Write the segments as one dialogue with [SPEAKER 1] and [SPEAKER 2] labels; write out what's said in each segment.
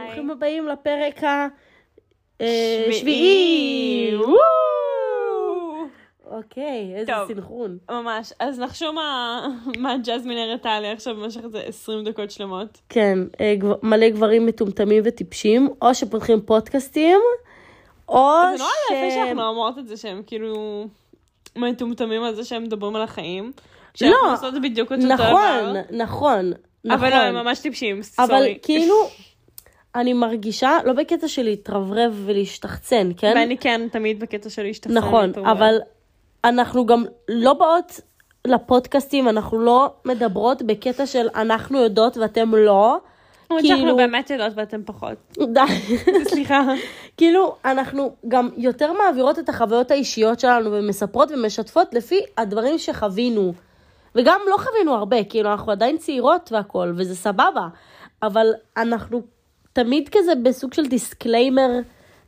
[SPEAKER 1] ברוכים הבאים לפרק ה... אה,
[SPEAKER 2] שביעי.
[SPEAKER 1] שביעי. וואו. אוקיי, איזה
[SPEAKER 2] טוב.
[SPEAKER 1] סנכרון.
[SPEAKER 2] ממש. אז נחשו מה, מה ג'זמין הראתה לי עכשיו במשך איזה 20 דקות שלמות.
[SPEAKER 1] כן, אה, גב- מלא גברים מטומטמים וטיפשים, או שפותחים פודקאסטים, או
[SPEAKER 2] זה נורא יפה
[SPEAKER 1] שהם-
[SPEAKER 2] שאנחנו לא אומרות את זה שהם כאילו מטומטמים על זה שהם מדברים על החיים.
[SPEAKER 1] לא.
[SPEAKER 2] שאנחנו עושות בדיוק את אותו דבר.
[SPEAKER 1] נכון, נכון, נכון.
[SPEAKER 2] אבל לא, הם ממש טיפשים,
[SPEAKER 1] אבל
[SPEAKER 2] סורי.
[SPEAKER 1] כאילו, אני מרגישה, לא בקטע של להתרברב ולהשתחצן, כן?
[SPEAKER 2] ואני כן תמיד בקטע של להשתחצן.
[SPEAKER 1] נכון,
[SPEAKER 2] יותר מדי.
[SPEAKER 1] אבל אנחנו גם לא באות לפודקאסטים, אנחנו לא מדברות בקטע של אנחנו יודעות ואתם לא.
[SPEAKER 2] למרות
[SPEAKER 1] כאילו-
[SPEAKER 2] שאנחנו באמת יודעות ואתם פחות.
[SPEAKER 1] די.
[SPEAKER 2] סליחה.
[SPEAKER 1] כאילו, אנחנו גם יותר מעבירות את החוויות האישיות שלנו ומספרות ומשתפות לפי הדברים שחווינו. וגם לא חווינו הרבה, כאילו, אנחנו עדיין צעירות והכול, וזה סבבה. אבל אנחנו תמיד כזה בסוג של דיסקליימר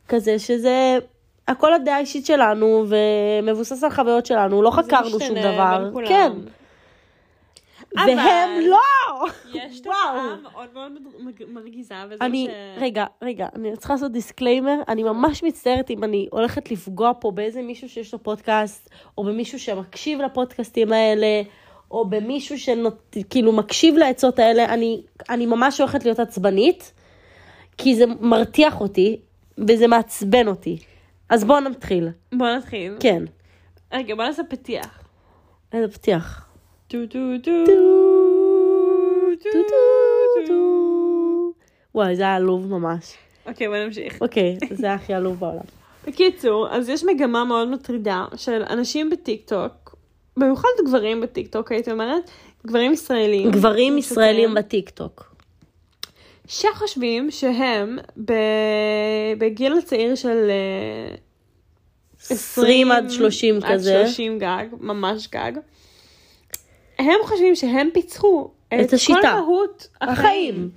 [SPEAKER 1] כזה, שזה הכל הדעה האישית שלנו, ומבוסס על חוויות שלנו, לא חקרנו שום דבר. כן.
[SPEAKER 2] אבל-
[SPEAKER 1] והם לא!
[SPEAKER 2] יש
[SPEAKER 1] וואו.
[SPEAKER 2] תופעה מאוד מאוד מג- מרגיזה, וזה
[SPEAKER 1] אני,
[SPEAKER 2] מה ש...
[SPEAKER 1] רגע, רגע, אני צריכה לעשות דיסקליימר, אני ממש מצטערת אם אני הולכת לפגוע פה באיזה מישהו שיש לו פודקאסט, או במישהו שמקשיב לפודקאסטים האלה, או במישהו שכאילו מקשיב לעצות האלה, אני, אני ממש הולכת להיות עצבנית, כי זה מרתיח אותי, וזה מעצבן אותי. אז בואו נתחיל,
[SPEAKER 2] בוא נתחיל.
[SPEAKER 1] כן,
[SPEAKER 2] רגע, בוא נעשה פתיח.
[SPEAKER 1] איזה פתיח.
[SPEAKER 2] טו טו טו.
[SPEAKER 1] טו טו טו. וואי, זה היה עלוב ממש.
[SPEAKER 2] אוקיי, בוא נמשיך.
[SPEAKER 1] אוקיי, זה היה הכי עלוב בעולם.
[SPEAKER 2] בקיצור, אז יש מגמה מאוד מטרידה של אנשים בטיקטוק, במיוחד גברים בטיקטוק, הייתי אומרת, גברים ישראלים.
[SPEAKER 1] גברים ישראלים
[SPEAKER 2] שכן.
[SPEAKER 1] בטיקטוק.
[SPEAKER 2] שחושבים שהם ב... בגיל הצעיר של אה,
[SPEAKER 1] 20 עד 30 כזה.
[SPEAKER 2] עד 30 גג, ממש גג. הם חושבים שהם פיצחו
[SPEAKER 1] את
[SPEAKER 2] כל
[SPEAKER 1] השיטה.
[SPEAKER 2] מהות
[SPEAKER 1] החיים.
[SPEAKER 2] החיים.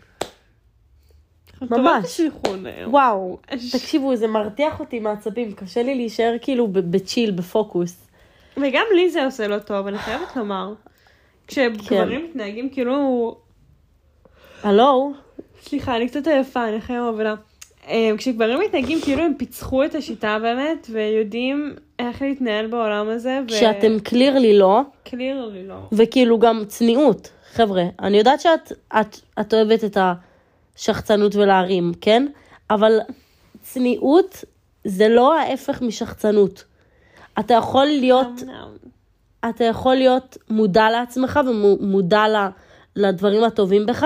[SPEAKER 2] תורת הסנכרון היום.
[SPEAKER 1] לא וואו,
[SPEAKER 2] אש.
[SPEAKER 1] תקשיבו, זה מרתיח אותי מעצבים, קשה לי להישאר כאילו ב- בצ'יל, בפוקוס.
[SPEAKER 2] וגם לי זה עושה לא טוב, אני חייבת לומר.
[SPEAKER 1] כן.
[SPEAKER 2] כשגברים מתנהגים כאילו...
[SPEAKER 1] הלו?
[SPEAKER 2] סליחה, אני קצת עייפה, אני אחרי יום עבודה. אה, כשגברים מתנהגים כאילו הם פיצחו את השיטה באמת, ויודעים איך להתנהל בעולם הזה. ו-
[SPEAKER 1] כשאתם קלירלי לא,
[SPEAKER 2] קליר לי לא.
[SPEAKER 1] וכאילו גם צניעות. חבר'ה, אני יודעת שאת את, את אוהבת את השחצנות ולהרים, כן? אבל צניעות זה לא ההפך משחצנות. אתה יכול להיות
[SPEAKER 2] אמנם.
[SPEAKER 1] אתה יכול להיות מודע לעצמך ומודע ל, לדברים הטובים בך,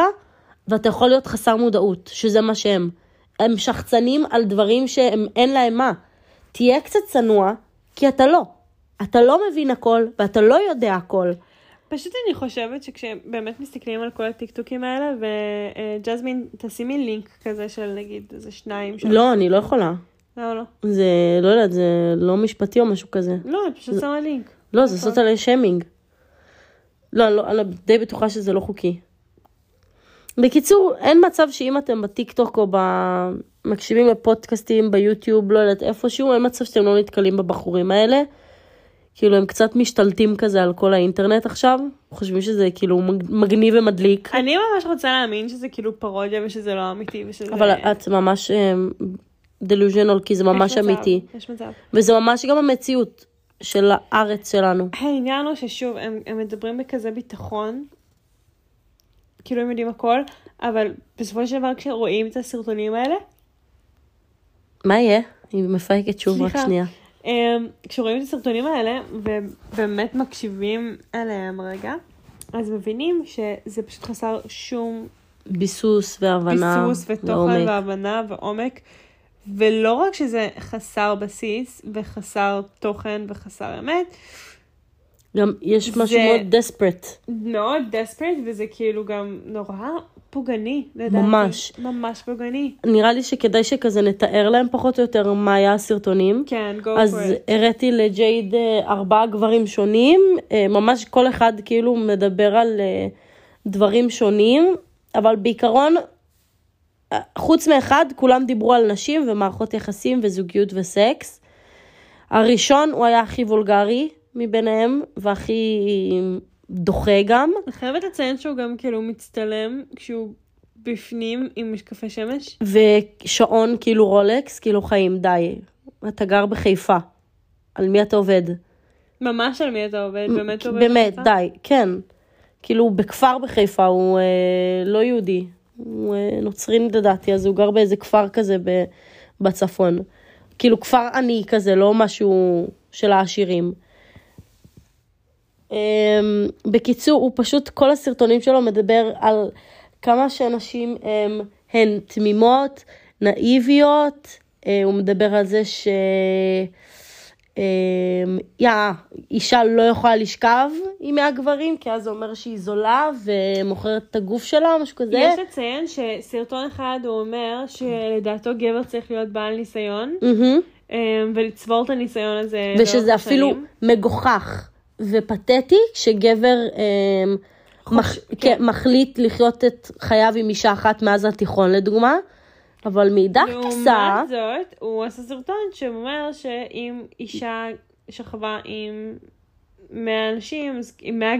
[SPEAKER 1] ואתה יכול להיות חסר מודעות, שזה מה שהם. הם שחצנים על דברים שהם אין להם מה. תהיה קצת צנוע, כי אתה לא. אתה לא מבין הכל, ואתה לא יודע הכל.
[SPEAKER 2] פשוט אני חושבת שכשבאמת מסתכלים על כל הטיקטוקים האלה, וג'זמין, תשימי לינק כזה של נגיד איזה שניים. שלוש.
[SPEAKER 1] לא, אני לא יכולה.
[SPEAKER 2] לא, לא.
[SPEAKER 1] זה, לא יודעת, זה לא משפטי או משהו כזה.
[SPEAKER 2] לא, את פשוט שמה לינק.
[SPEAKER 1] לא, זה
[SPEAKER 2] נכון.
[SPEAKER 1] לעשות עלי שיימינג. לא, אני לא, אני די בטוחה שזה לא חוקי. בקיצור, אין מצב שאם אתם בטיקטוק או ב... מקשיבים לפודקאסטים ביוטיוב, לא יודעת איפשהו, אין מצב שאתם לא נתקלים בבחורים האלה. כאילו, הם קצת משתלטים כזה על כל האינטרנט עכשיו, חושבים שזה כאילו מג- מגניב ומדליק,
[SPEAKER 2] אני ממש רוצה להאמין שזה כאילו פרודיה ושזה לא אמיתי ושזה...
[SPEAKER 1] אבל את ממש דלוז'נול, כי זה
[SPEAKER 2] יש
[SPEAKER 1] ממש
[SPEAKER 2] מצב,
[SPEAKER 1] אמיתי.
[SPEAKER 2] יש מצב.
[SPEAKER 1] וזה ממש גם המציאות של הארץ שלנו.
[SPEAKER 2] העניין הוא ששוב, הם, הם מדברים בכזה ביטחון, כאילו הם יודעים הכל, אבל בסופו של דבר כשרואים את הסרטונים האלה,
[SPEAKER 1] מה יהיה? היא מפהקת שוב, רק
[SPEAKER 2] סליחה.
[SPEAKER 1] שנייה.
[SPEAKER 2] אמ, כשרואים את הסרטונים האלה, ובאמת מקשיבים עליהם רגע, אז מבינים שזה פשוט חסר שום
[SPEAKER 1] ביסוס והבנה.
[SPEAKER 2] ביסוס ותוכן
[SPEAKER 1] ועומק.
[SPEAKER 2] והבנה ועומק. ולא רק שזה חסר בסיס וחסר תוכן וחסר אמת,
[SPEAKER 1] גם יש
[SPEAKER 2] זה-
[SPEAKER 1] משהו מאוד דספרט.
[SPEAKER 2] מאוד desperate וזה כאילו גם נורא פוגעני לדעתי.
[SPEAKER 1] ממש.
[SPEAKER 2] ממש פוגעני.
[SPEAKER 1] נראה לי שכדאי שכזה נתאר להם פחות או יותר מה היה הסרטונים.
[SPEAKER 2] כן, go
[SPEAKER 1] אז
[SPEAKER 2] for it.
[SPEAKER 1] הראתי לג'ייד אה, ארבעה גברים שונים, אה, ממש כל אחד כאילו מדבר על אה, דברים שונים, אבל בעיקרון, אה, חוץ מאחד, כולם דיברו על נשים ומערכות יחסים וזוגיות וסקס. הראשון הוא היה הכי וולגרי מביניהם, והכי דוחה גם.
[SPEAKER 2] אני חייבת לציין שהוא גם כאילו מצטלם כשהוא בפנים עם משקפי שמש?
[SPEAKER 1] ושעון כאילו רולקס, כאילו חיים, די. אתה גר בחיפה. על מי אתה עובד?
[SPEAKER 2] ממש על מי אתה עובד? באמת לא עובד?
[SPEAKER 1] באמת,
[SPEAKER 2] בחיפה?
[SPEAKER 1] די, כן. כאילו, הוא בכפר בחיפה, הוא אה, לא יהודי. הוא אה, נוצרי לדעתי, אז הוא גר באיזה כפר כזה ב, בצפון. כאילו, כפר עני כזה, לא משהו של העשירים. אה, בקיצור, הוא פשוט, כל הסרטונים שלו מדבר על כמה שנשים הם, הן תמימות, נאיביות. אה, הוא מדבר על זה ש... אמ, יא, אישה לא יכולה לשכב עם 100 גברים, כי אז זה אומר שהיא זולה ומוכרת את הגוף שלה או משהו כזה.
[SPEAKER 2] יש לציין שסרטון אחד הוא אומר שלדעתו גבר צריך להיות בעל ניסיון,
[SPEAKER 1] מהמם.
[SPEAKER 2] אה, ולצבור את הניסיון הזה
[SPEAKER 1] ושזה
[SPEAKER 2] לאורך
[SPEAKER 1] אפילו
[SPEAKER 2] השנים.
[SPEAKER 1] מגוחך ופתטי כשגבר אמ, מח- כן, מחליט לחיות את חייו עם אישה אחת מאז התיכון לדוגמה, אבל מאידך גיסא,
[SPEAKER 2] לעומת זאת, הוא עשה סרטון שאומר שאם אישה שכבה עם 100 אנשים, אז עם 100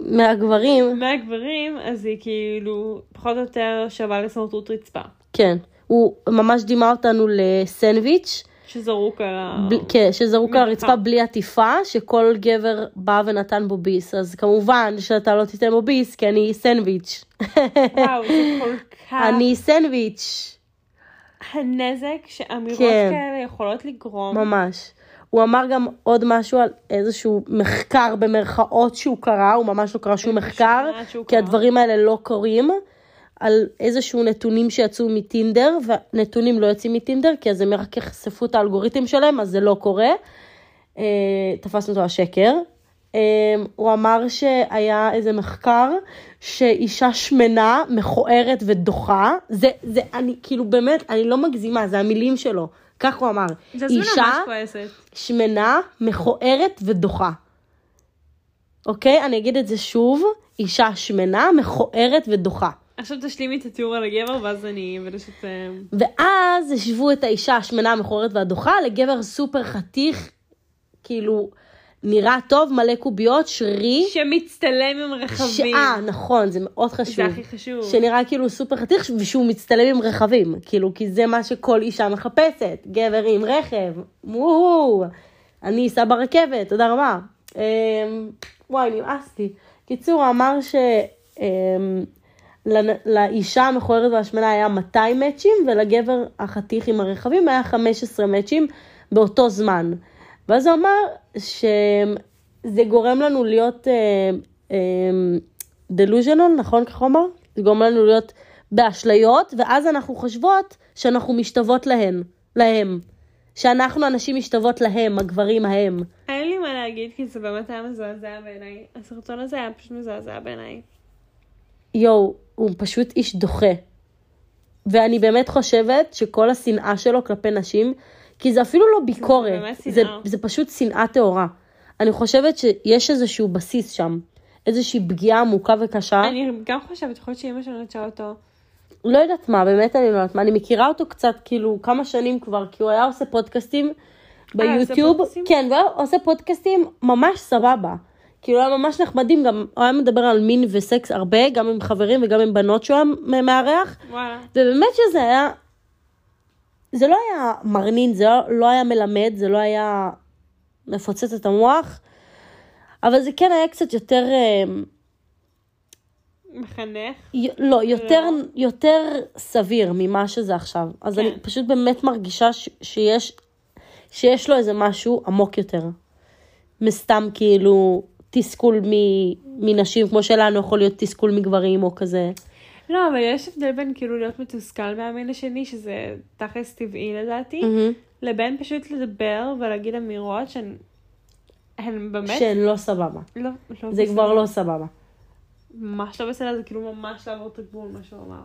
[SPEAKER 1] מהגברים,
[SPEAKER 2] 100 גברים, אז היא כאילו פחות או יותר שווה לסמרטוט רצפה.
[SPEAKER 1] כן, הוא ממש דימה אותנו לסנדוויץ'.
[SPEAKER 2] שזרוק על ה...
[SPEAKER 1] בל- כן, שזרוק על
[SPEAKER 2] מנוחה.
[SPEAKER 1] הרצפה בלי עטיפה, שכל גבר בא ונתן בו ביס, אז כמובן שאתה לא תיתן בו ביס, כי אני סנדוויץ'.
[SPEAKER 2] וואו, זה כל כך...
[SPEAKER 1] אני סנדוויץ',
[SPEAKER 2] הנזק שאמירות
[SPEAKER 1] כן.
[SPEAKER 2] כאלה יכולות לגרום.
[SPEAKER 1] ממש. הוא אמר גם עוד משהו על איזשהו מחקר במרכאות שהוא קרא, הוא ממש לא קרא שום
[SPEAKER 2] אני
[SPEAKER 1] מחקר,
[SPEAKER 2] משוכנעת שהוא
[SPEAKER 1] כי
[SPEAKER 2] קרא.
[SPEAKER 1] הדברים האלה לא קורים, על איזשהו נתונים שיצאו מטינדר, ונתונים לא יוצאים מטינדר, כי אז הם רק יחשפו את האלגוריתם שלהם, אז זה לא קורה. אה, תפסנו אותו השקר. אה, הוא אמר שהיה איזה מחקר שאישה שמנה, מכוערת ודוחה, זה, זה, אני, כאילו באמת, אני לא מגזימה, זה המילים שלו. כך הוא אמר.
[SPEAKER 2] זה
[SPEAKER 1] אישה
[SPEAKER 2] ממש כועסת.
[SPEAKER 1] שמנה, מכוערת ודוחה. אוקיי? אני אגיד את זה שוב, אישה שמנה, מכוערת ודוחה.
[SPEAKER 2] עכשיו תשלימי את התיאור על הגבר, ואז אני ברשת... אה,
[SPEAKER 1] ואז השוו את האישה השמנה, המכוערת והדוחה לגבר סופר חתיך, כאילו, נראה טוב, מלא קוביות, שרירי.
[SPEAKER 2] שמצטלם עם רכבים.
[SPEAKER 1] שעה, נכון, זה מאוד חשוב.
[SPEAKER 2] זה הכי חשוב.
[SPEAKER 1] שנראה כאילו סופר חתיך, ושהוא מצטלם עם רכבים, כאילו, כי זה מה שכל אישה מחפשת, גבר עם רכב, וואו, אני אסע ברכבת, תודה רבה. אמ, וואי, נמאס לי. קיצור, הוא אמר ש... אמ, לנ- לאישה המכוערת והשמנה היה 200 מאצ'ים, ולגבר החתיך עם הרכבים היה 15 מאצ'ים באותו זמן. ואז הוא אמר שזה גורם לנו להיות אה, אמ, דלוז'נון, נכון ככה הוא אמר? זה גורם לנו להיות באשליות, ואז אנחנו חושבות שאנחנו משתוות להן, להם. שאנחנו הנשים משתוות להם, הגברים ההם.
[SPEAKER 2] אין לי מה להגיד, כי זה באמת היה מזעזע בעיניי. הסרטון הזה היה פשוט מזעזע בעיניי.
[SPEAKER 1] יואו, הוא פשוט איש דוחה. ואני באמת חושבת שכל השנאה שלו כלפי נשים, כי זה אפילו לא ביקורת,
[SPEAKER 2] באמת
[SPEAKER 1] זה,
[SPEAKER 2] שנאה.
[SPEAKER 1] זה פשוט שנאה טהורה. אני חושבת שיש איזשהו בסיס שם, איזושהי פגיעה עמוקה וקשה. אני...
[SPEAKER 2] אני גם חושבת, יכול להיות שאימא שלו נטשה אותו.
[SPEAKER 1] לא יודעת מה, באמת אני לא יודעת מה, אני מכירה אותו קצת, כאילו, כמה שנים כבר, כי הוא היה עושה פודקאסטים
[SPEAKER 2] היה אה, עושה
[SPEAKER 1] ביוטיוב.
[SPEAKER 2] פודקאסטים?
[SPEAKER 1] כן, והוא היה עושה פודקאסטים ממש סבבה. כאילו, היה ממש נחמדים, גם הוא היה מדבר על מין וסקס הרבה, גם עם חברים וגם עם בנות שהוא היה מארח.
[SPEAKER 2] וואלה.
[SPEAKER 1] ובאמת שזה היה, זה לא היה מרנין, זה לא- לא היה מלמד, זה לא היה מפוצץ את המוח, אבל זה כן היה קצת יותר, אה,
[SPEAKER 2] מחנך.
[SPEAKER 1] י- לא, יותר, יותר סביר ממה שזה עכשיו. אז
[SPEAKER 2] Mm. כן.
[SPEAKER 1] אני פשוט באמת מרגישה ש, שיש, שיש לו איזה משהו עמוק יותר. מסתם כאילו תסכול מ- מנשים, כמו שלנו יכול להיות תסכול מגברים או כזה.
[SPEAKER 2] לא, אבל יש הבדל בין כאילו להיות מתוסכל מהמין השני, שזה תכלס טבעי לדעתי, לבין פשוט לדבר ולהגיד אמירות שהן הן באמת
[SPEAKER 1] שהן לא סבבה.
[SPEAKER 2] לא, לא
[SPEAKER 1] זה
[SPEAKER 2] בסדר.
[SPEAKER 1] כבר לא סבבה.
[SPEAKER 2] ממש לא בסדר, זה כאילו ממש לעבור את הגבול, מה שהוא אמר.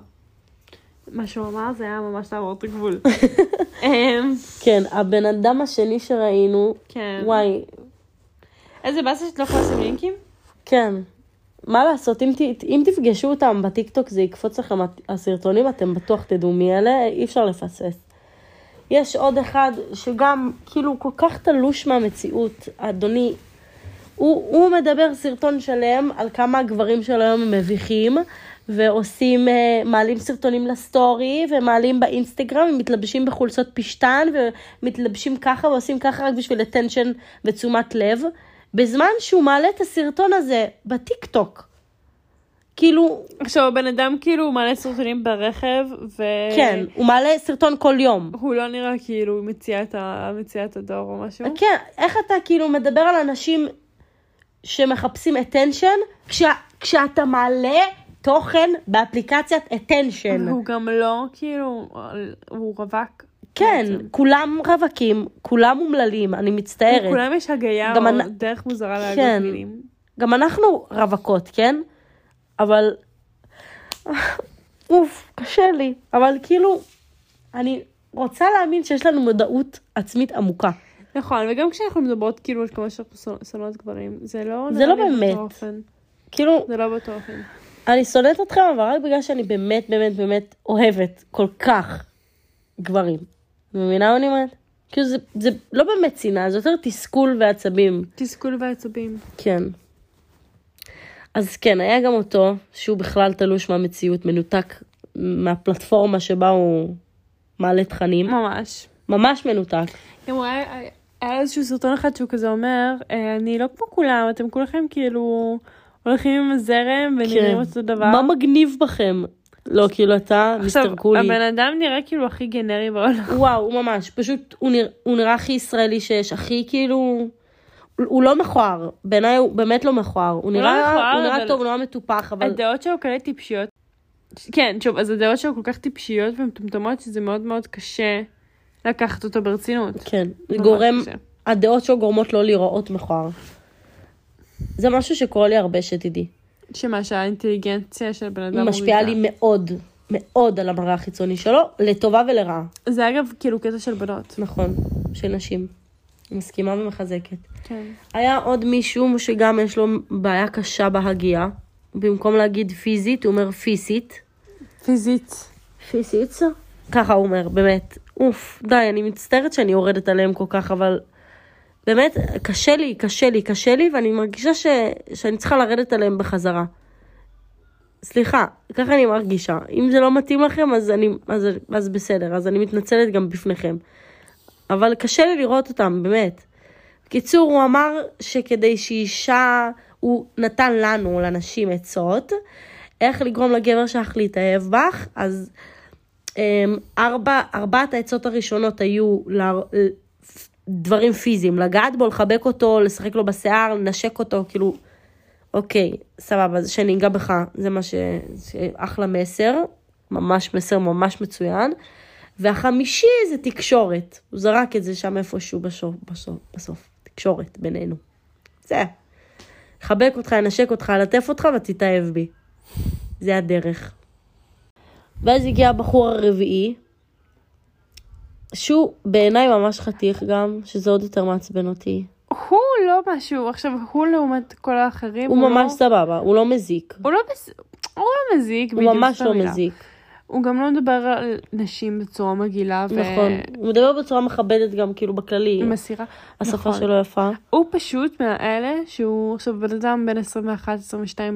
[SPEAKER 2] מה שהוא אמר זה היה ממש לעבור את הגבול. אמ,
[SPEAKER 1] כן, הבן אדם השני שראינו,
[SPEAKER 2] כן.
[SPEAKER 1] וואי,
[SPEAKER 2] איזה באסה שאת לא יכולה לשים לינקים?
[SPEAKER 1] כן. מה לעשות, אם, ת, אם תפגשו אותם בטיקטוק זה יקפוץ לכם הת- הסרטונים, אתם בטוח תדעו מי אלה, אי אפשר לפספס. יש עוד אחד שגם, כאילו, כל כך תלוש מהמציאות, אדוני. הוא, הוא מדבר סרטון שלם על כמה הגברים של היום הם מביכים, ועושים, אה, מעלים סרטונים לסטורי, ומעלים באינסטגרם, ומתלבשים בחולצות פשטן, ומתלבשים ככה ועושים ככה רק בשביל attention ותשומת לב, בזמן שהוא מעלה את הסרטון הזה בטיקטוק. כאילו,
[SPEAKER 2] עכשיו, הבן אדם כאילו הוא מעלה סרטונים ברכב, ו...
[SPEAKER 1] כן, הוא מעלה סרטון כל יום.
[SPEAKER 2] הוא לא נראה כאילו הוא מציע את, ה... מציע את הדור או משהו.
[SPEAKER 1] כן, איך אתה כאילו מדבר על אנשים שמחפשים attention, כשה, כשאתה מעלה תוכן באפליקציית attention.
[SPEAKER 2] הוא גם לא כאילו, הוא רווק.
[SPEAKER 1] כן, כולם רווקים, כולם אומללים, אני מצטערת.
[SPEAKER 2] לכולם יש הגייה
[SPEAKER 1] גם
[SPEAKER 2] או
[SPEAKER 1] אני-
[SPEAKER 2] דרך מוזרה
[SPEAKER 1] כן.
[SPEAKER 2] להגיד מילים.
[SPEAKER 1] גם אנחנו רווקות, כן? אבל... אוף, קשה לי. אבל כאילו, אני רוצה להאמין שיש לנו מודעות עצמית עמוקה.
[SPEAKER 2] נכון, וגם כשאנחנו מדברות כאילו על כמה שאנחנו שונא- שונאות גברים, זה לא...
[SPEAKER 1] זה
[SPEAKER 2] נראה
[SPEAKER 1] לא
[SPEAKER 2] לי באותו
[SPEAKER 1] באמת.
[SPEAKER 2] אופן.
[SPEAKER 1] כאילו,
[SPEAKER 2] זה לא באותו אופן.
[SPEAKER 1] אני שונאת אתכם, אבל רק בגלל שאני באמת באמת באמת אוהבת כל כך גברים. את מבינה מה אני אומרת? כאילו זה, זה לא באמת שנאה, זה יותר תסכול ועצבים.
[SPEAKER 2] תסכול ועצבים.
[SPEAKER 1] כן. אז כן, היה גם אותו, שהוא בכלל תלוש מהמציאות, מנותק מהפלטפורמה שבה הוא מעלה תכנים.
[SPEAKER 2] ממש.
[SPEAKER 1] ממש מנותק.
[SPEAKER 2] גם כן, הוא היה היה- היה איזשהו סרטון אחד שהוא כזה אומר, "אה, אני לא כמו כולם, אתם כולכם כאילו הולכים עם הזרם ונראים
[SPEAKER 1] כן.
[SPEAKER 2] אותו דבר.
[SPEAKER 1] מה מגניב בכם? לא, כאילו אתה,
[SPEAKER 2] עכשיו,
[SPEAKER 1] מיסטר קולי.
[SPEAKER 2] הבן אדם נראה כאילו הכי גנרי בעולם.
[SPEAKER 1] וואו, הוא ממש, פשוט הוא נרא- הוא נראה הכי ישראלי שיש, הכי כאילו... הוא- הוא לא מכוער, בעיניי הוא באמת לא מכוער. הוא נראה,
[SPEAKER 2] מכוער,
[SPEAKER 1] הוא נראה
[SPEAKER 2] אבל-
[SPEAKER 1] טוב, הוא נראה מטופח, אבל...
[SPEAKER 2] הדעות שלו כאלה טיפשיות. ש- כן, שוב, אז הדעות שלו כל כך טיפשיות ומטומטמות, שזה מאוד מאוד קשה לקחת אותו ברצינות.
[SPEAKER 1] כן, זה
[SPEAKER 2] ממש
[SPEAKER 1] גורם,
[SPEAKER 2] קשה.
[SPEAKER 1] הדעות שלו גורמות לא להיראות מכוער. זה משהו שקורה לי הרבה, שתדעי.
[SPEAKER 2] שמה שהאינטליגנציה של הבן אדם
[SPEAKER 1] היא משפיעה לי
[SPEAKER 2] מורידה.
[SPEAKER 1] מאוד, מאוד על המראה החיצוני שלו, לטובה ולרעה.
[SPEAKER 2] זה אגב כאילו קטע של בנות.
[SPEAKER 1] נכון, של נשים. מסכימה ומחזקת.
[SPEAKER 2] כן.
[SPEAKER 1] היה עוד מישהו שגם יש לו בעיה קשה בהגייה. במקום להגיד פיזית, הוא אומר פיסית.
[SPEAKER 2] פיזית.
[SPEAKER 1] פיסית? ככה הוא אומר, באמת. אוף, די, אני מצטערת שאני יורדת עליהם כל כך, אבל באמת, קשה לי, קשה לי, קשה לי, ואני מרגישה ש... שאני צריכה לרדת עליהם בחזרה. סליחה, ככה אני מרגישה. אם זה לא מתאים לכם, אז, אני, אז, אז בסדר, אז אני מתנצלת גם בפניכם. אבל קשה לי לראות אותם, באמת. בקיצור, הוא אמר שכדי שאישה, הוא נתן לנו, לנשים, עצות, איך לגרום לגבר שלך להתאהב בך, אז אמ, ארבע, ארבעת העצות הראשונות היו לה, דברים פיזיים, לגעת בו, לחבק אותו, לשחק לו בשיער, לנשק אותו, כאילו, אוקיי, סבבה, אז שאני אגע בך, זה מה ש... ש... אחלה מסר, ממש מסר ממש מצוין. והחמישי זה תקשורת, הוא זרק את זה שם איפשהו בסוף, בסוף, בסוף. תקשורת בינינו. זה. חבק אותך, ינשק אותך, אלטף אותך ותתאהב בי. זה הדרך. ואז הגיע הבחור הרביעי, שהוא בעיניי ממש חתיך גם, שזה עוד יותר מעצבן אותי.
[SPEAKER 2] הוא לא משהו, עכשיו הוא לעומת כל האחרים.
[SPEAKER 1] הוא
[SPEAKER 2] לא-
[SPEAKER 1] ממש סבבה, הוא לא מזיק.
[SPEAKER 2] הוא לא בס... הוא לא מזיק,
[SPEAKER 1] הוא
[SPEAKER 2] בדיוק,
[SPEAKER 1] ממש
[SPEAKER 2] זאת
[SPEAKER 1] לא
[SPEAKER 2] המילה.
[SPEAKER 1] מזיק.
[SPEAKER 2] הוא גם לא מדבר על נשים בצורה מגעילה ו...
[SPEAKER 1] נכון. הוא מדבר בצורה מכבדת גם, כאילו, בכללי.
[SPEAKER 2] מסירה.
[SPEAKER 1] השפה
[SPEAKER 2] נכון.
[SPEAKER 1] שלו יפה.
[SPEAKER 2] הוא פשוט מהאלה שהוא עכשיו בן אדם בן 21-22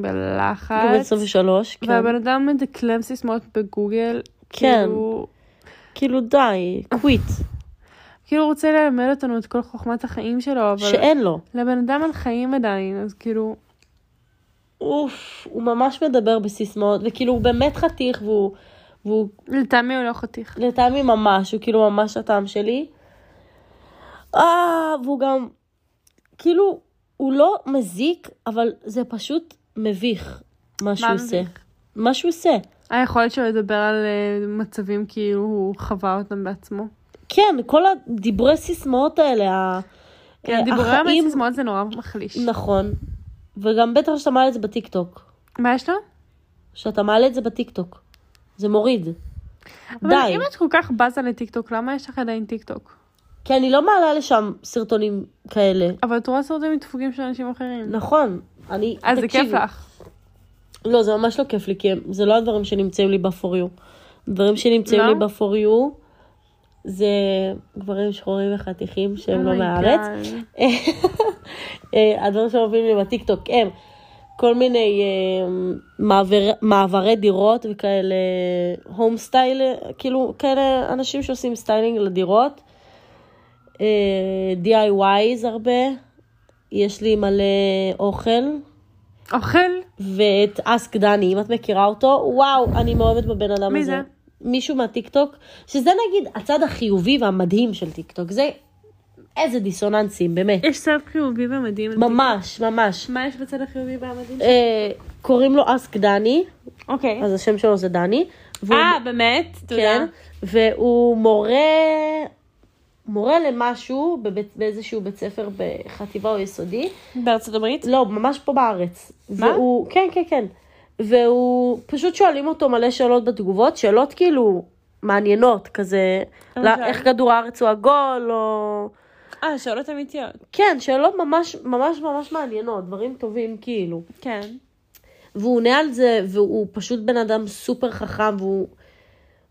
[SPEAKER 2] בלחץ.
[SPEAKER 1] הוא בן 23, כן.
[SPEAKER 2] והבן אדם מדקלם סיסמאות בגוגל.
[SPEAKER 1] כן.
[SPEAKER 2] כאילו,
[SPEAKER 1] כאילו, די, קוויט,
[SPEAKER 2] כאילו הוא רוצה ללמד אותנו את כל חוכמת החיים שלו, אבל...
[SPEAKER 1] שאין לו.
[SPEAKER 2] לבן אדם אין חיים עדיין, אז כאילו...
[SPEAKER 1] אוף, הוא ממש מדבר בסיסמאות, וכאילו, הוא באמת חתיך, והוא... והוא
[SPEAKER 2] לטעמי הוא לא חתיך.
[SPEAKER 1] לטעמי ממש, הוא כאילו ממש הטעם שלי. אה, והוא גם, כאילו, הוא לא מזיק, אבל זה פשוט מביך, מה שהוא עושה.
[SPEAKER 2] מביך?
[SPEAKER 1] מה שהוא עושה.
[SPEAKER 2] היכולת שלו לדבר על אה, מצבים כאילו הוא חווה אותם בעצמו.
[SPEAKER 1] כן, כל הדיבורי סיסמאות האלה, ה-
[SPEAKER 2] כן,
[SPEAKER 1] אה,
[SPEAKER 2] דיבורי
[SPEAKER 1] החיים-
[SPEAKER 2] הסיסמאות זה נורא מחליש.
[SPEAKER 1] נכון. וגם בטח שאתה מעלה את זה בטיקטוק.
[SPEAKER 2] מה יש לו?
[SPEAKER 1] שאתה מעלה את זה בטיקטוק. זה מוריד.
[SPEAKER 2] אבל
[SPEAKER 1] די.
[SPEAKER 2] אם את כל כך בזה לטיקטוק, למה יש לך עדיין טיקטוק?
[SPEAKER 1] כי אני לא מעלה לשם סרטונים כאלה.
[SPEAKER 2] אבל את רואה סרטונים דפוקים של אנשים אחרים.
[SPEAKER 1] נכון, אני...
[SPEAKER 2] אז זה כיף
[SPEAKER 1] תקשיבי.
[SPEAKER 2] לך.
[SPEAKER 1] לא, זה ממש לא כיף לי, כי הם- זה לא הדברים שנמצאים לי ב-for you. דברים שנמצאים
[SPEAKER 2] לא?
[SPEAKER 1] לי ב-for you זה גברים שחורים וחתיכים שהם לא
[SPEAKER 2] Oh my
[SPEAKER 1] מהארץ.
[SPEAKER 2] God.
[SPEAKER 1] אה, הדברים שמופיעים לי בטיקטוק הם כל מיני אה, מעבר, מעברי דירות וכאלה הום סטייל, כאילו כאלה אנשים שעושים סטיילינג לדירות. אה, DIYs הרבה, יש לי מלא אוכל,
[SPEAKER 2] אוכל?
[SPEAKER 1] ואת אסק דני, אם את מכירה אותו, וואו, אני מאוהבת בבן אדם
[SPEAKER 2] מי
[SPEAKER 1] הזה.
[SPEAKER 2] זה?
[SPEAKER 1] מישהו מהטיקטוק, שזה נגיד הצד החיובי והמדהים של טיקטוק, זה איזה דיסוננסים, באמת.
[SPEAKER 2] יש צו חיובי ומדהים.
[SPEAKER 1] ממש, ממש.
[SPEAKER 2] מה יש בצד החיובי והמדהים?
[SPEAKER 1] אה, קוראים לו אסק דני,
[SPEAKER 2] אוקיי.
[SPEAKER 1] אז השם שלו זה דני. והוא-
[SPEAKER 2] אה, באמת? תודה.
[SPEAKER 1] כן, והוא מורה, מורה למשהו בבית, באיזשהו בית ספר בחטיבה או יסודי,
[SPEAKER 2] בארצות הברית?
[SPEAKER 1] לא, ממש פה בארץ.
[SPEAKER 2] מה?
[SPEAKER 1] והוא, כן, כן, כן. והוא, פשוט שואלים אותו מלא שאלות בתגובות, שאלות כאילו מעניינות, כזה, לא,
[SPEAKER 2] אוקיי.
[SPEAKER 1] איך כדור הארץ הוא עגול, או...
[SPEAKER 2] אה, שאלות אמיתיות.
[SPEAKER 1] כן, שאלות ממש ממש ממש מעניינות, דברים טובים כאילו.
[SPEAKER 2] כן.
[SPEAKER 1] והוא עונה על זה, והוא פשוט בן אדם סופר חכם, והוא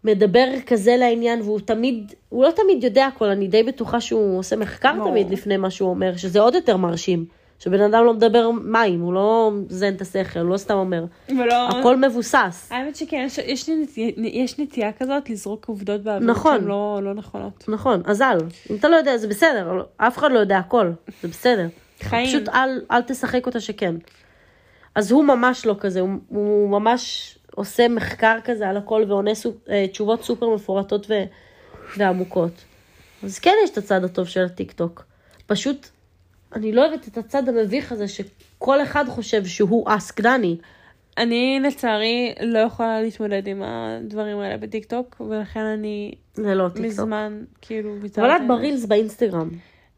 [SPEAKER 1] מדבר כזה לעניין, והוא תמיד, הוא לא תמיד יודע הכל, אני די בטוחה שהוא עושה מחקר
[SPEAKER 2] ברור.
[SPEAKER 1] תמיד לפני מה שהוא אומר, שזה עוד יותר מרשים. שבן אדם לא מדבר מים, הוא לא מזיין את השכל, הוא לא סתם אומר.
[SPEAKER 2] ולא...
[SPEAKER 1] הכל מבוסס.
[SPEAKER 2] האמת שכן, יש- יש לי נטי- יש נטייה כזאת לזרוק עובדות באוויר
[SPEAKER 1] נכון.
[SPEAKER 2] שהן לא לא נכונות.
[SPEAKER 1] נכון, אז אל. אם אתה לא יודע, זה בסדר, אבל אף אחד לא יודע הכל, זה בסדר.
[SPEAKER 2] חיים.
[SPEAKER 1] פשוט אל, אל תשחק אותה שכן. אז הוא ממש לא כזה, הוא, הוא ממש עושה מחקר כזה על הכל ועונה סופ, אה, תשובות סופר מפורטות ו, ועמוקות. אז כן יש את הצד הטוב של הטיקטוק. פשוט, אני לא אוהבת את הצד המביך הזה שכל אחד חושב שהוא אסקדני.
[SPEAKER 2] אני לצערי לא יכולה להתמודד עם הדברים האלה בטיקטוק, ולכן אני
[SPEAKER 1] זה לא טיקטוק.
[SPEAKER 2] מזמן כאילו ויתרתי.
[SPEAKER 1] אבל את
[SPEAKER 2] על זה.
[SPEAKER 1] ברילס באינסטגרם.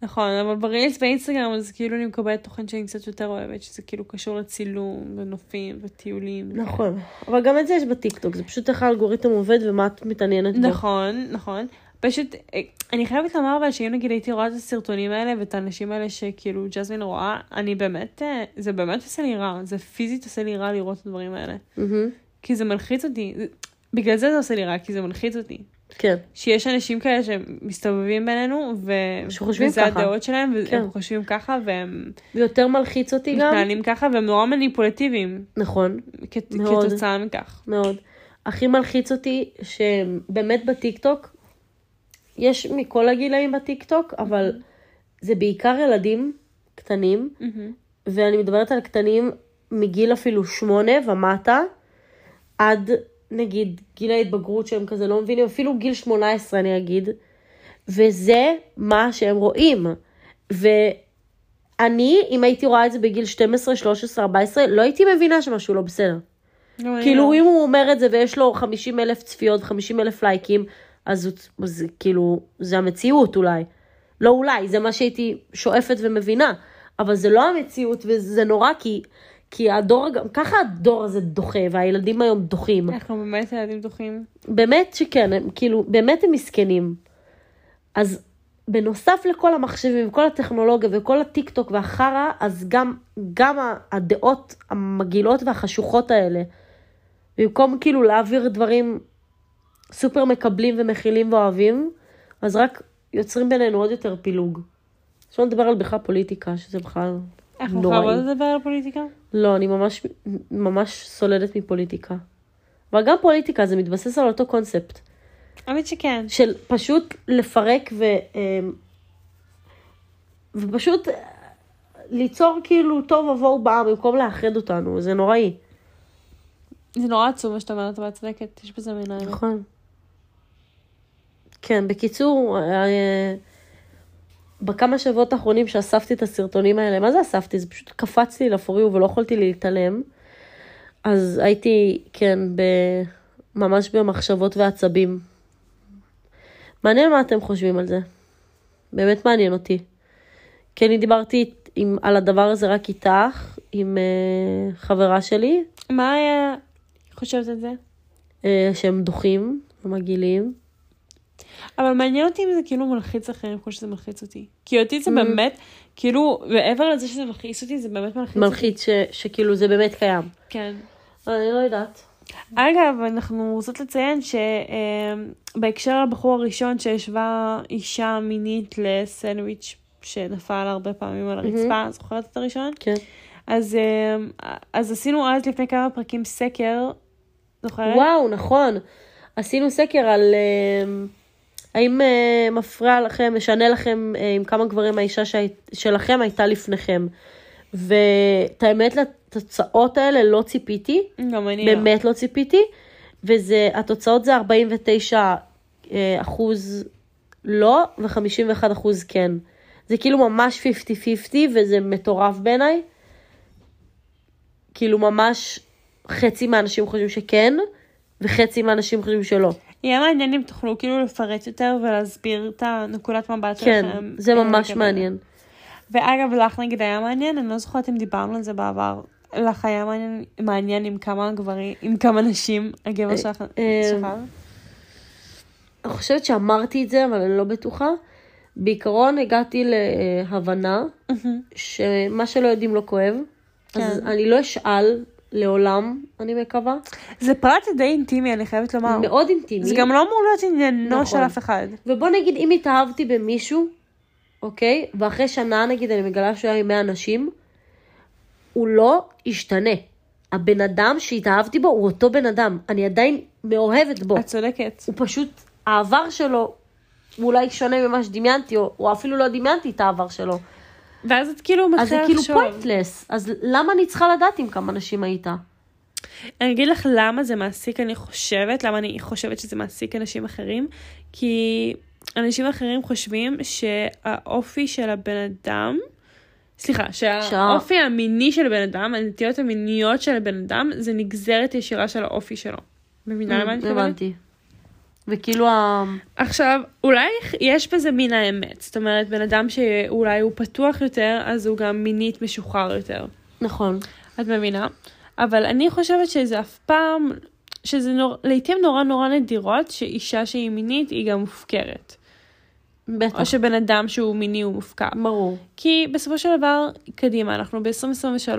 [SPEAKER 2] נכון, אבל ברילס באינסטגרם אז כאילו אני מקבלת תוכן שאני קצת יותר אוהבת, שזה כאילו קשור לצילום, ונופים, וטיולים.
[SPEAKER 1] נכון. אבל גם את זה יש בטיקטוק, זה פשוט איך האלגוריתם עובד ומה את מתעניינת בו.
[SPEAKER 2] נכון, נכון. פשוט, אה, אני חייבת לומר אבל שאם נגיד הייתי רואה את הסרטונים האלה ואת האנשים האלה שכאילו ג'זמין רואה, אני באמת, אה, זה באמת עושה לי רע, זה פיזית עושה לי רע לראות את הדברים האלה.
[SPEAKER 1] מהמם.
[SPEAKER 2] כי זה מלחיץ אותי, זה- בגלל זה זה עושה לי רע, כי זה מלחיץ אותי.
[SPEAKER 1] כן.
[SPEAKER 2] שיש אנשים כאלה שמסתובבים בינינו, ו...
[SPEAKER 1] שחושבים
[SPEAKER 2] וזה
[SPEAKER 1] ככה.
[SPEAKER 2] הדעות שלהם, והם
[SPEAKER 1] כן.
[SPEAKER 2] חושבים ככה, והם
[SPEAKER 1] ויותר מלחיץ אותי גם.
[SPEAKER 2] מתנהלים ככה, והם נורא מניפולטיביים,
[SPEAKER 1] נכון,
[SPEAKER 2] כת...
[SPEAKER 1] מאוד.
[SPEAKER 2] כתוצאה מכך.
[SPEAKER 1] מאוד. הכי מלחיץ אותי שבאמת בטיקטוק, יש מכל הגילאים בטיקטוק, אבל זה בעיקר ילדים קטנים,
[SPEAKER 2] מהמם.
[SPEAKER 1] ואני מדברת על קטנים מגיל אפילו שמונה ומטה, עד נגיד גיל ההתבגרות שהם כזה לא מבינים, אפילו גיל 18 אני אגיד, וזה מה שהם רואים. ואני, אם הייתי רואה את זה בגיל 12, 13, 14, לא הייתי מבינה שמשהו לא בסדר.
[SPEAKER 2] לא, אני
[SPEAKER 1] כאילו
[SPEAKER 2] לא.
[SPEAKER 1] אם הוא אומר את זה ויש לו 50 אלף צפיות ו-50 אלף לייקים, אז הוא, אז כאילו, זה המציאות אולי. לא אולי, זה מה שהייתי שואפת ומבינה, אבל זה לא המציאות וזה נורא כי, כי הדור, גם ככה הדור הזה דוחה והילדים היום דוחים.
[SPEAKER 2] אנחנו באמת ילדים דוחים.
[SPEAKER 1] באמת שכן, הם כאילו, באמת הם מסכנים. אז בנוסף לכל המחשבים, כל הטכנולוגיה וכל הטיק טוק והחרא, אז גם, גם ה- הדעות המגעילות והחשוכות האלה, במקום כאילו להעביר דברים סופר מקבלים ומכילים ואוהבים, אז רק יוצרים בינינו עוד יותר פילוג. שלא נדבר על בכלל פוליטיקה, שזה בכלל
[SPEAKER 2] אנחנו
[SPEAKER 1] נוראי.
[SPEAKER 2] חייבות לדבר על פוליטיקה?
[SPEAKER 1] לא, אני ממש, ממש סולדת מפוליטיקה. אבל גם פוליטיקה, זה מתבסס על אותו קונספט.
[SPEAKER 2] האמת שכן.
[SPEAKER 1] של פשוט לפרק ו... אמ, ופשוט אה, ליצור כאילו טוב עבור בעם במקום לאחד אותנו, זה נוראי.
[SPEAKER 2] זה נורא עצוב מה שאת אומרת, אבל את צודקת, יש בזה מן האמת.
[SPEAKER 1] נכון. כן, בקיצור, אה, בכמה שבועות האחרונים שאספתי את הסרטונים האלה, מה זה אספתי? זה פשוט קפץ לי לפוריו ולא יכולתי להתעלם. אז הייתי, כן, ב... ממש במחשבות ועצבים. מעניין מה אתם חושבים על זה. באמת מעניין אותי. כי אני דיברתי עם, על הדבר הזה רק איתך, עם אה, חברה שלי,
[SPEAKER 2] מה היה חושבת על זה?
[SPEAKER 1] אה, שהם דוחים ומגעילים.
[SPEAKER 2] אבל מעניין אותי אם זה כאילו מלחיץ אחרים כמו שזה מלחיץ אותי. כי אותי זה באמת, כאילו, מעבר לזה שזה מלחיץ אותי, זה באמת מלחיץ אותי.
[SPEAKER 1] מלחיץ ש, שכאילו זה באמת קיים.
[SPEAKER 2] כן.
[SPEAKER 1] אני לא יודעת.
[SPEAKER 2] אגב, אנחנו רוצות לציין שבהקשר לבחור הראשון שהשווה אישה מינית לסנדוויץ' שנפל הרבה פעמים על הרצפה, זוכרת את הראשון?
[SPEAKER 1] כן.
[SPEAKER 2] אז, אה, אז עשינו אז לפני כמה פרקים סקר, זוכרת?
[SPEAKER 1] וואו, נכון. עשינו סקר על אה, האם אה, מפריע לכם, משנה לכם אה, עם כמה גברים האישה שהי, שלכם הייתה לפניכם. ואת האמת, לתוצאות האלה לא ציפיתי.
[SPEAKER 2] גם אני לא.
[SPEAKER 1] באמת לא ציפיתי, וזה, התוצאות זה 49 אה, אחוז לא ו-51 אחוז כן. זה כאילו ממש 50-50 וזה מטורף בעיניי. כאילו ממש חצי מהאנשים חושבים שכן, וחצי מהאנשים חושבים שלא.
[SPEAKER 2] יהיה מעניין אם תוכלו כאילו לפרט יותר ולהסביר את הנקודת מבט
[SPEAKER 1] כן,
[SPEAKER 2] שלכם.
[SPEAKER 1] זה
[SPEAKER 2] אה,
[SPEAKER 1] ממש
[SPEAKER 2] לגבי
[SPEAKER 1] מעניין.
[SPEAKER 2] ואגב, לך נגיד היה מעניין, אני לא זוכרת אם דיברנו על זה בעבר. לך היה מעניין, מעניין עם כמה גברים, עם כמה נשים הגבר שלך
[SPEAKER 1] אה,
[SPEAKER 2] שכב?
[SPEAKER 1] אני חושבת שאמרתי את זה, אבל אני לא בטוחה. בעיקרון הגעתי להבנה שמה שלא יודעים לא כואב. כן. אז
[SPEAKER 2] כן.
[SPEAKER 1] אני לא אשאל לעולם, אני מקווה.
[SPEAKER 2] זה פרט די אינטימי, אני חייבת לומר.
[SPEAKER 1] מאוד אינטימי.
[SPEAKER 2] זה גם לא אמור להיות עניינו
[SPEAKER 1] נכון.
[SPEAKER 2] של אף אחד.
[SPEAKER 1] ובוא נגיד, אם התאהבתי במישהו, אוקיי? ואחרי שנה, נגיד, אני מגלה שהוא היה עם 100 אנשים, הוא לא ישתנה. הבן אדם שהתאהבתי בו הוא אותו בן אדם. אני עדיין מאוהבת בו.
[SPEAKER 2] את צודקת.
[SPEAKER 1] הוא פשוט, העבר שלו הוא אולי שונה ממה שדמיינתי, או, או אפילו לא דמיינתי את העבר שלו.
[SPEAKER 2] ואז את כאילו
[SPEAKER 1] אז זה
[SPEAKER 2] מתחילה
[SPEAKER 1] כאילו
[SPEAKER 2] לחשוב.
[SPEAKER 1] פוינטלס. אז למה אני צריכה לדעת עם כמה נשים היית?
[SPEAKER 2] אני אגיד לך למה זה מעסיק, אני חושבת, למה אני חושבת שזה מעסיק אנשים אחרים, כי אנשים אחרים חושבים שהאופי של הבן אדם, סליחה, שהאופי המיני של הבן אדם, הנטיות המיניות של הבן אדם, זה נגזרת ישירה של האופי שלו. מבינה למה אני מתכוונת?
[SPEAKER 1] Mm, הבנתי. וכאילו ה...
[SPEAKER 2] עכשיו, אולי יש בזה מן האמת. זאת אומרת, בן אדם שאולי הוא פתוח יותר, אז הוא גם מינית משוחרר יותר.
[SPEAKER 1] נכון.
[SPEAKER 2] את מבינה? אבל אני חושבת שזה אף פעם, שזה נור... לעתים נורא נורא נדירות שאישה שהיא מינית היא גם מופקרת.
[SPEAKER 1] בטח.
[SPEAKER 2] או שבן אדם שהוא מיני הוא מופקר.
[SPEAKER 1] ברור.
[SPEAKER 2] כי בסופו של דבר, קדימה, אנחנו ב-2023.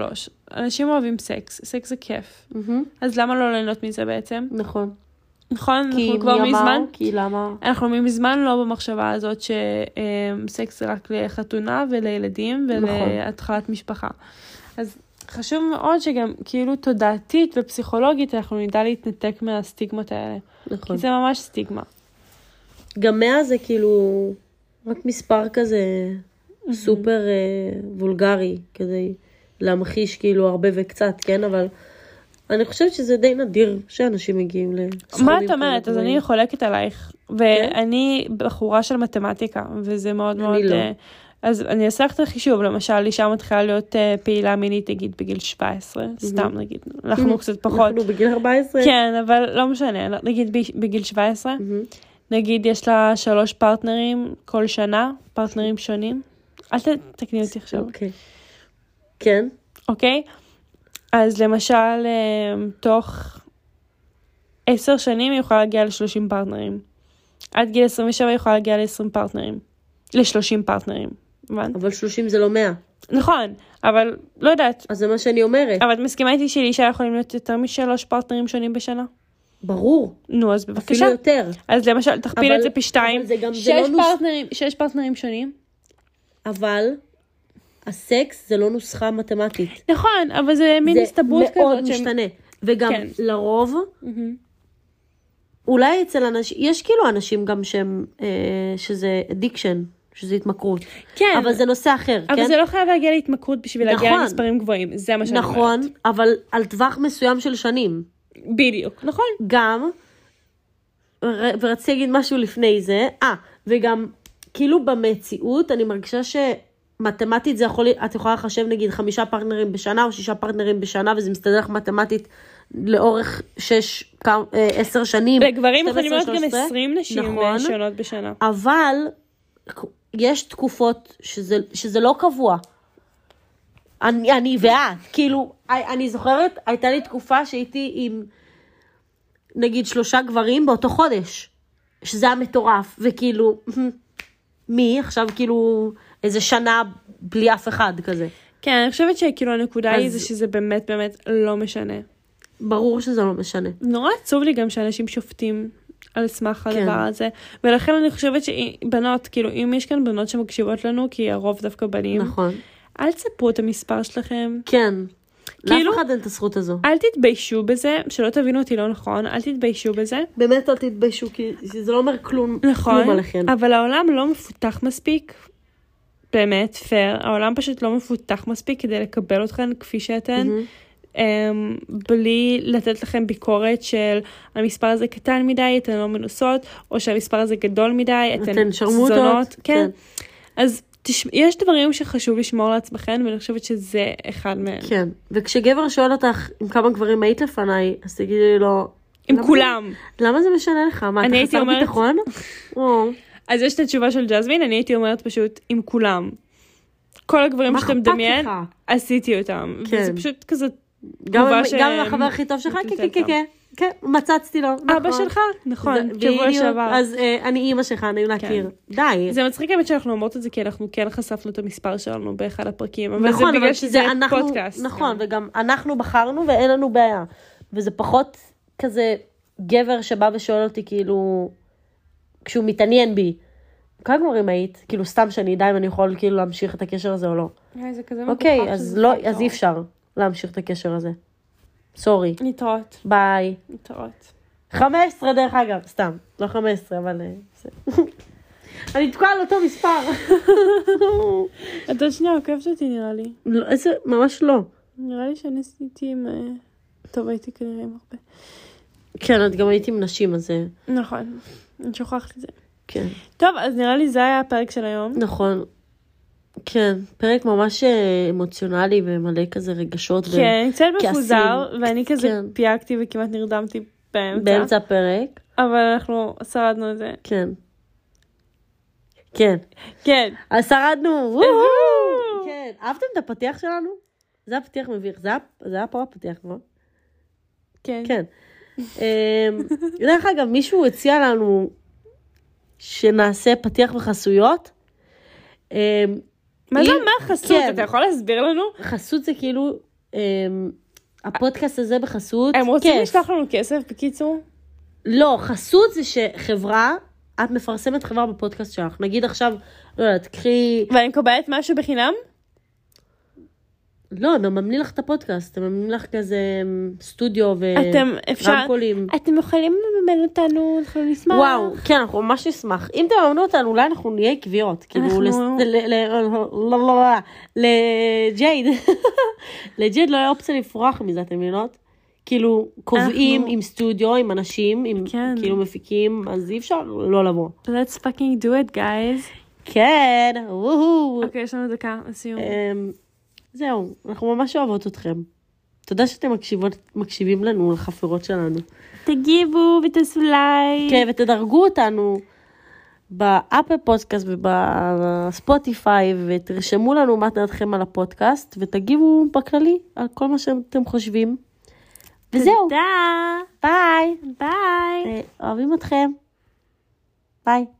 [SPEAKER 2] אנשים אוהבים סקס, סקס זה כיף.
[SPEAKER 1] מהמם.
[SPEAKER 2] אז למה לא ליהנות מזה בעצם?
[SPEAKER 1] נכון.
[SPEAKER 2] נכון?
[SPEAKER 1] כי
[SPEAKER 2] אנחנו כבר
[SPEAKER 1] מי אמר?
[SPEAKER 2] מזמן...
[SPEAKER 1] כי למה?
[SPEAKER 2] אנחנו מזמן לא במחשבה הזאת שסקס זה רק לחתונה ולילדים
[SPEAKER 1] נכון.
[SPEAKER 2] ולהתחלת משפחה. אז חשוב מאוד שגם כאילו תודעתית ופסיכולוגית אנחנו נדע להתנתק מהסטיגמות האלה.
[SPEAKER 1] נכון.
[SPEAKER 2] כי זה ממש סטיגמה.
[SPEAKER 1] גם 100 זה כאילו רק מספר כזה סופר אה, וולגרי, כדי להמחיש כאילו הרבה וקצת, כן? אבל אני חושבת שזה די נדיר שאנשים מגיעים לסכומים.
[SPEAKER 2] מה את
[SPEAKER 1] כאלה
[SPEAKER 2] אומרת? אז
[SPEAKER 1] גבוהים.
[SPEAKER 2] אני חולקת עלייך.
[SPEAKER 1] כן.
[SPEAKER 2] ואני בחורה של מתמטיקה, וזה מאוד
[SPEAKER 1] אני
[SPEAKER 2] מאוד...
[SPEAKER 1] לא.
[SPEAKER 2] אה, אז אני אעשה לך את החישוב, למשל אישה מתחילה להיות אה, פעילה מינית נגיד בגיל 17, סתם נגיד, אנחנו קצת פחות.
[SPEAKER 1] אנחנו בגיל 14.
[SPEAKER 2] כן, אבל לא משנה, לא- נגיד ב- בגיל 17, נגיד יש לה שלוש פרטנרים כל שנה, פרטנרים שונים. אל ת- תקני אותי עכשיו,
[SPEAKER 1] אוקיי. כן?
[SPEAKER 2] אוקיי? אז למשל, אמ, תוך עשר שנים היא יכולה להגיע ל-30 פרטנרים. עד גיל 27 היא יכולה להגיע ל-20 פרטנרים. ל-30 פרטנרים. הבנת?
[SPEAKER 1] אבל 30 זה לא 100.
[SPEAKER 2] נכון, אבל לא יודעת.
[SPEAKER 1] אז זה מה שאני אומרת.
[SPEAKER 2] אבל את מסכימה איתי שלאישה יכולים להיות יותר משלוש פרטנרים שונים בשנה?
[SPEAKER 1] ברור.
[SPEAKER 2] נו, אז
[SPEAKER 1] אפילו
[SPEAKER 2] בבקשה.
[SPEAKER 1] יותר.
[SPEAKER 2] אז למשל, תכפיל
[SPEAKER 1] אבל-
[SPEAKER 2] את זה פי שתיים.
[SPEAKER 1] אבל זה גם- זה
[SPEAKER 2] שש,
[SPEAKER 1] לא נוס-
[SPEAKER 2] פרטנרים, שש פרטנרים שונים.
[SPEAKER 1] אבל הסקס זה לא נוסחה מתמטית.
[SPEAKER 2] נכון, אבל זה מין הסתברות כזאת.
[SPEAKER 1] זה מאוד
[SPEAKER 2] שהם-
[SPEAKER 1] משתנה. וגם
[SPEAKER 2] כן.
[SPEAKER 1] לרוב, אולי אצל אנשים, יש כאילו אנשים גם שהם, אה, שזה אדיקשן, שזה התמכרות.
[SPEAKER 2] כן,
[SPEAKER 1] אבל זה נושא אחר,
[SPEAKER 2] אבל
[SPEAKER 1] כן?
[SPEAKER 2] זה לא חייב להגיע להתמכרות בשביל להגיע
[SPEAKER 1] נכון.
[SPEAKER 2] למספרים גבוהים. זה מה שאני אומרת.
[SPEAKER 1] נכון, אבל על טווח מסוים של שנים.
[SPEAKER 2] בדיוק, נכון.
[SPEAKER 1] גם, ר- ורציתי להגיד משהו לפני זה, אה, וגם, כאילו במציאות, אני מרגישה שמתמטית זה יכול, להיות- את יכולה לחשב נגיד חמישה פרטנרים בשנה או שישה פרטנרים בשנה, וזה מסתדר לך מתמטית לאורך שש, כמה- אה, עשר שנים.
[SPEAKER 2] לגברים יכולים
[SPEAKER 1] 12,
[SPEAKER 2] להיות גם
[SPEAKER 1] 13.
[SPEAKER 2] 20 נשים אה,
[SPEAKER 1] נכון,
[SPEAKER 2] שונות בשנה.
[SPEAKER 1] אבל יש תקופות שזה, שזה לא קבוע. אני, אני ואת, כאילו, אני- אני זוכרת, הייתה לי תקופה שהייתי עם נגיד שלושה גברים באותו חודש, שזה היה מטורף, וכאילו, מי עכשיו כאילו איזה שנה בלי אף אחד כזה.
[SPEAKER 2] כן, אני חושבת שכאילו הנקודה היא
[SPEAKER 1] אז-
[SPEAKER 2] זה שזה באמת באמת לא משנה.
[SPEAKER 1] ברור שזה לא משנה.
[SPEAKER 2] נורא עצוב לי גם שאנשים שופטים על סמך
[SPEAKER 1] כן.
[SPEAKER 2] הדבר הזה, ולכן אני חושבת שבנות, כאילו, אם יש כאן בנות שמקשיבות לנו, כי הרוב דווקא בנים,
[SPEAKER 1] נכון.
[SPEAKER 2] אל תספרו את המספר שלכם.
[SPEAKER 1] כן.
[SPEAKER 2] כאילו-
[SPEAKER 1] לאף אחד אין את הזכות הזו.
[SPEAKER 2] אל תתביישו בזה, שלא תבינו אותי לא נכון, אל תתביישו בזה.
[SPEAKER 1] באמת אל תתביישו, כי זה לא אומר כלום, כלום
[SPEAKER 2] נכון,
[SPEAKER 1] עליכן.
[SPEAKER 2] אבל העולם לא מפותח מספיק, באמת, פייר, העולם פשוט לא מפותח מספיק כדי לקבל אתכן כפי שאתן,
[SPEAKER 1] מהמם.
[SPEAKER 2] אמ, בלי לתת לכם ביקורת של המספר הזה קטן מדי, אתן לא מנוסות, או שהמספר הזה גדול מדי, אתן
[SPEAKER 1] אתן שרמוטות,
[SPEAKER 2] זונות. כן.
[SPEAKER 1] כן.
[SPEAKER 2] אז תש... יש דברים שחשוב לשמור לעצמכן, ואני חושבת שזה אחד מהם.
[SPEAKER 1] כן. וכשגבר שואל אותך עם כמה גברים היית לפניי, אז תגידי לו...
[SPEAKER 2] עם
[SPEAKER 1] למה-
[SPEAKER 2] כולם.
[SPEAKER 1] למה זה משנה לך? מה, אתה
[SPEAKER 2] אני הייתי
[SPEAKER 1] חסר
[SPEAKER 2] אומרת-
[SPEAKER 1] ביטחון? או,
[SPEAKER 2] אז יש את התשובה של ג'זמין, אני הייתי אומרת פשוט עם כולם. כל הגברים
[SPEAKER 1] מה
[SPEAKER 2] שאתה
[SPEAKER 1] אכפת
[SPEAKER 2] מדמיין,
[SPEAKER 1] לך?
[SPEAKER 2] עשיתי אותם.
[SPEAKER 1] כן.
[SPEAKER 2] וזה פשוט כזה,
[SPEAKER 1] גם
[SPEAKER 2] תגובה
[SPEAKER 1] אם-
[SPEAKER 2] ש-
[SPEAKER 1] גם אם החבר הכי טוב שלך? כן, כן, כן, כן. כן, מצצתי לו.
[SPEAKER 2] אבא
[SPEAKER 1] נכון.
[SPEAKER 2] שלך, נכון,
[SPEAKER 1] זה-
[SPEAKER 2] שבוע
[SPEAKER 1] בדיוק.
[SPEAKER 2] שעבר. כן.
[SPEAKER 1] אז אה, אני אימא שלך, נעים להכיר. די.
[SPEAKER 2] זה מצחיק האמת שאנחנו אומרות את זה, כי אנחנו כן חשפנו את המספר שלנו באחד הפרקים, אבל זה
[SPEAKER 1] נכון,
[SPEAKER 2] בגלל
[SPEAKER 1] אבל
[SPEAKER 2] שזה
[SPEAKER 1] זה אנחנו,
[SPEAKER 2] פודקאסט.
[SPEAKER 1] נכון, וגם אנחנו בחרנו ואין לנו בעיה. וזה פחות כזה גבר שבא ושואל אותי כאילו, כשהוא מתעניין בי, כמה גברים היית? כאילו סתם שאני אדע אם אני יכול כאילו להמשיך את הקשר הזה או לא.
[SPEAKER 2] וואי, זה כזה מגוחך
[SPEAKER 1] אוקיי, אז
[SPEAKER 2] שזה
[SPEAKER 1] לא,
[SPEAKER 2] פקטור.
[SPEAKER 1] אז אי אפשר להמשיך את הקשר הזה. סורי,
[SPEAKER 2] נתראות,
[SPEAKER 1] ביי.
[SPEAKER 2] נתראות.
[SPEAKER 1] 15 דרך אגב, סתם, לא 15, אבל... אה, זה. אני תקועה על אותו מספר.
[SPEAKER 2] את עוד שנייה עוקבת אותי נראה לי.
[SPEAKER 1] לא, איזה, ממש לא.
[SPEAKER 2] נראה לי שאני עשיתי עם... אה, טוב, הייתי כנראה עם הרבה.
[SPEAKER 1] כן, את גם היית עם נשים, אז זה...
[SPEAKER 2] נכון, אני שוכחת את זה.
[SPEAKER 1] כן.
[SPEAKER 2] טוב, אז נראה לי זה היה הפרק של היום.
[SPEAKER 1] נכון. כן, פרק ממש אה, אמוציונלי ומלא כזה רגשות. ו-
[SPEAKER 2] כן, קצת
[SPEAKER 1] כעסים.
[SPEAKER 2] מפוזר, ואני כזה
[SPEAKER 1] כן.
[SPEAKER 2] פייקתי וכמעט נרדמתי באמצע,
[SPEAKER 1] באמצע הפרק.
[SPEAKER 2] אבל אנחנו שרדנו את זה.
[SPEAKER 1] כן. כן.
[SPEAKER 2] כן.
[SPEAKER 1] אז שרדנו! וואו!
[SPEAKER 2] וואו!
[SPEAKER 1] כן. אהבתם את הפתיח שלנו? זה היה פתיח מביך. זה היה- זה היה פה הפתיח, לא?
[SPEAKER 2] כן.
[SPEAKER 1] כן. אמ, דרך אגב, מישהו הציע לנו שנעשה פתיח וחסויות. אמ,
[SPEAKER 2] מה זה
[SPEAKER 1] אם-
[SPEAKER 2] אומר חסות?
[SPEAKER 1] כן.
[SPEAKER 2] אתה יכול להסביר לנו?
[SPEAKER 1] חסות זה כאילו, אמ, הפודקאסט הזה בחסות.
[SPEAKER 2] הם רוצים
[SPEAKER 1] כיף.
[SPEAKER 2] לשלוח לנו כסף, בקיצור?
[SPEAKER 1] לא, חסות זה שחברה, את מפרסמת חברה בפודקאסט שלך. נגיד עכשיו, לא יודעת, קחי...
[SPEAKER 2] ואני מקבלת משהו בחינם?
[SPEAKER 1] לא, מממנים לך את הפודקאסט, מממנים לך כזה אמ, סטודיו ו...
[SPEAKER 2] אתם, אפשר... אה,
[SPEAKER 1] רמקולים.
[SPEAKER 2] אתם יכולים לממן אותנו, אנחנו נשמח.
[SPEAKER 1] וואו, כן, אנחנו ממש נשמח. אם תממנו אותנו, אולי אנחנו נהיה עקביות. כאילו,
[SPEAKER 2] אנחנו-
[SPEAKER 1] לס- ל- ל- לא, לא, לא, לא, לג'ייד. לג'ייד לא היה אופציה לברוח מזה, אתם מבינות? כאילו, קובעים
[SPEAKER 2] אנחנו-
[SPEAKER 1] עם סטודיו, עם אנשים, עם
[SPEAKER 2] כן.
[SPEAKER 1] כאילו מפיקים, אז אי אפשר לא לבוא.
[SPEAKER 2] Let's fucking do it, guys.
[SPEAKER 1] כן, וואו.
[SPEAKER 2] אוקיי, יש לנו דקה לסיום.
[SPEAKER 1] אמ, זהו, אנחנו ממש אוהבות אתכם. תודה שאתם מקשיבות, מקשיבים לנו, לחפירות שלנו.
[SPEAKER 2] תגיבו ותעשו לייק.
[SPEAKER 1] כן, ותדרגו אותנו באפל פודקאסט ובספוטיפיי, ותרשמו לנו מה דעתכם על הפודקאסט, ותגיבו בכללי על כל מה שאתם חושבים. וזהו,
[SPEAKER 2] תודה.
[SPEAKER 1] ביי.
[SPEAKER 2] ביי.
[SPEAKER 1] אה, אוהבים אתכם. ביי.